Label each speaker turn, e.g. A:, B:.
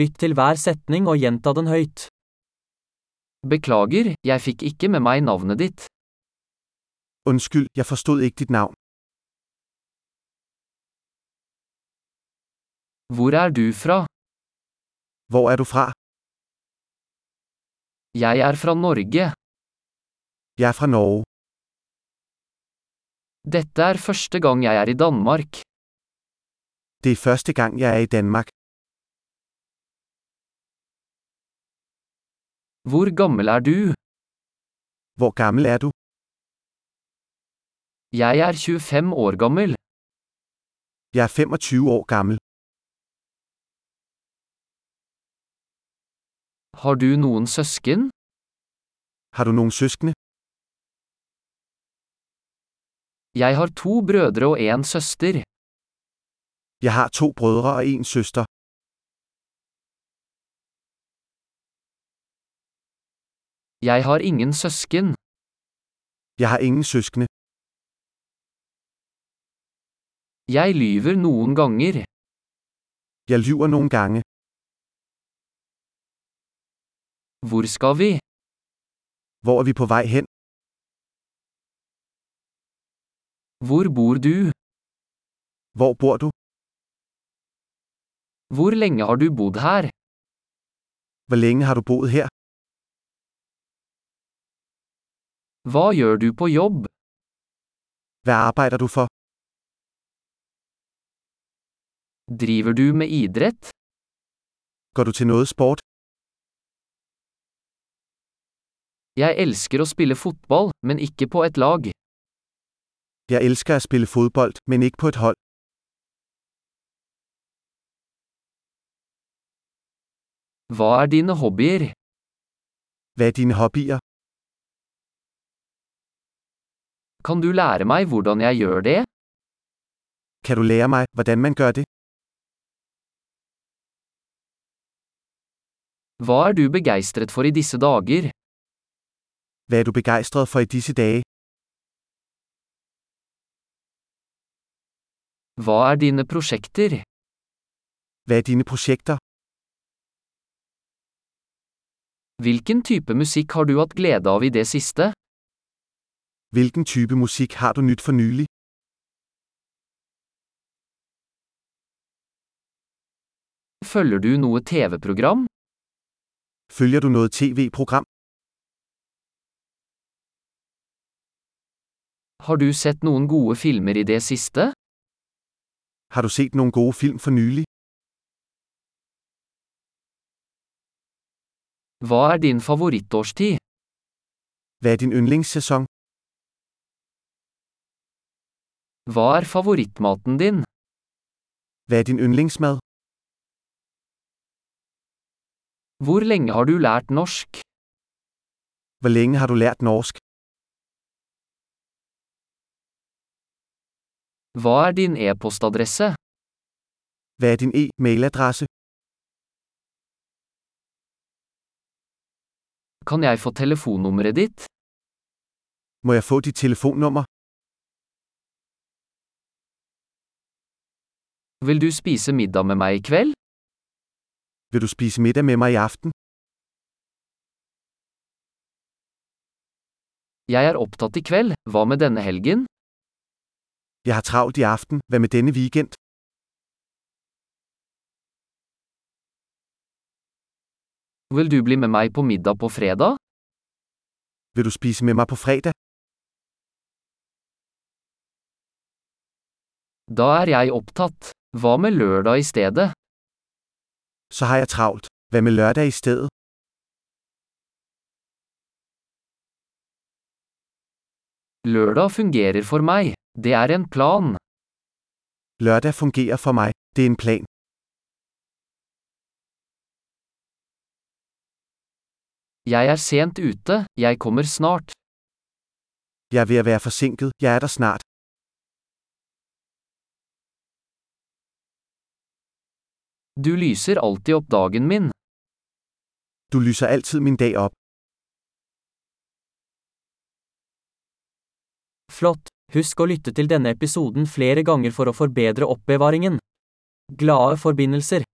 A: Lytt til hver setning og gjenta den høyt. Beklager, jeg fikk ikke med meg navnet ditt.
B: Undskyld, jeg forstod ikke dit navn.
A: Hvor er du fra?
B: Hvor er du fra?
A: Jeg er fra Norge.
B: Jeg er fra Norge.
A: Dette er første gang jeg er i Danmark.
B: Det er første gang jeg er i Danmark.
A: Hvor gammel er du?
B: Hvor gammel er du?
A: Jeg er 25 år gammel.
B: Jeg er 25 år gammel.
A: Har du noen søsken?
B: Har du noen søskende?
A: Jeg har to brødre og en søster.
B: Jeg har to brødre og en søster.
A: Jeg har ingen søsken.
B: Jeg har ingen søskende.
A: Jeg lyver noen ganger.
B: Jeg lyver noen gange.
A: Hvor skal vi?
B: Hvor er vi på vei hen?
A: Hvor bor du?
B: Hvor bor du?
A: Hvor lenge har du bodd her?
B: Hvor lenge har du bodd her?
A: Hva gjør du på jobb?
B: Hva arbeider du for?
A: Driver du med idrett?
B: Går du til noget sport?
A: Jeg elsker å spille fotball, men ikke på et lag.
B: Jeg elsker at spille fodbold, men ikke på et hold.
A: Hva er dine hobbyer?
B: Hvad er dine hobbyer?
A: Kan du lære meg hvordan jeg gjør det?
B: Kan du lære meg hvordan man gjør det?
A: Hva er du begeistret for i disse dager?
B: Hva er du begeistret for i disse dage?
A: Hva er dine prosjekter?
B: Hva er dine prosjekter?
A: Hvilken type musikk har du hatt glede av i det siste?
B: Hvilken type musikk har du nytt for nylig?
A: Følger du noe TV-program?
B: Følger du noget tv-program?
A: Har du sett noen gode filmer i det siste?
B: Har du set noen gode film for nylig?
A: Hva er din favorittårstid?
B: Hva er din yndlingssæson?
A: Hva er favorittmaten din?
B: Hva er din yndlingsmad?
A: Hvor lenge har du lært norsk?
B: Hvor lenge har du lært norsk?
A: Hva er din e-postadresse?
B: Hva er din e-mailadresse?
A: Kan jeg få telefonnummeret ditt?
B: Må jeg få dit telefonnummer?
A: Vil du spise middag med meg i kveld?
B: Vil du spise middag med meg i aften?
A: Jeg er opptatt i kveld, hva med denne helgen?
B: Jeg har travlt i aften, hva med denne weekend?
A: Vil du bli med meg på middag på fredag?
B: Vil du spise med meg på fredag?
A: Da er jeg opptatt. Hva med lørdag i stedet?
B: Så har jeg travlt. Hva med lørdag i stedet?
A: Lørdag fungerer for meg. Det er en plan.
B: Lørdag fungerer for meg. Det er en plan.
A: Jeg er sent ute, jeg kommer snart.
B: Jeg er ved at være forsinket. Jeg er der snart.
A: Du lyser alltid opp dagen min.
B: Du lyser altid min dag op.
A: Flott! Husk å lytte til denne episoden flere ganger for å forbedre oppbevaringen. Glade forbindelser!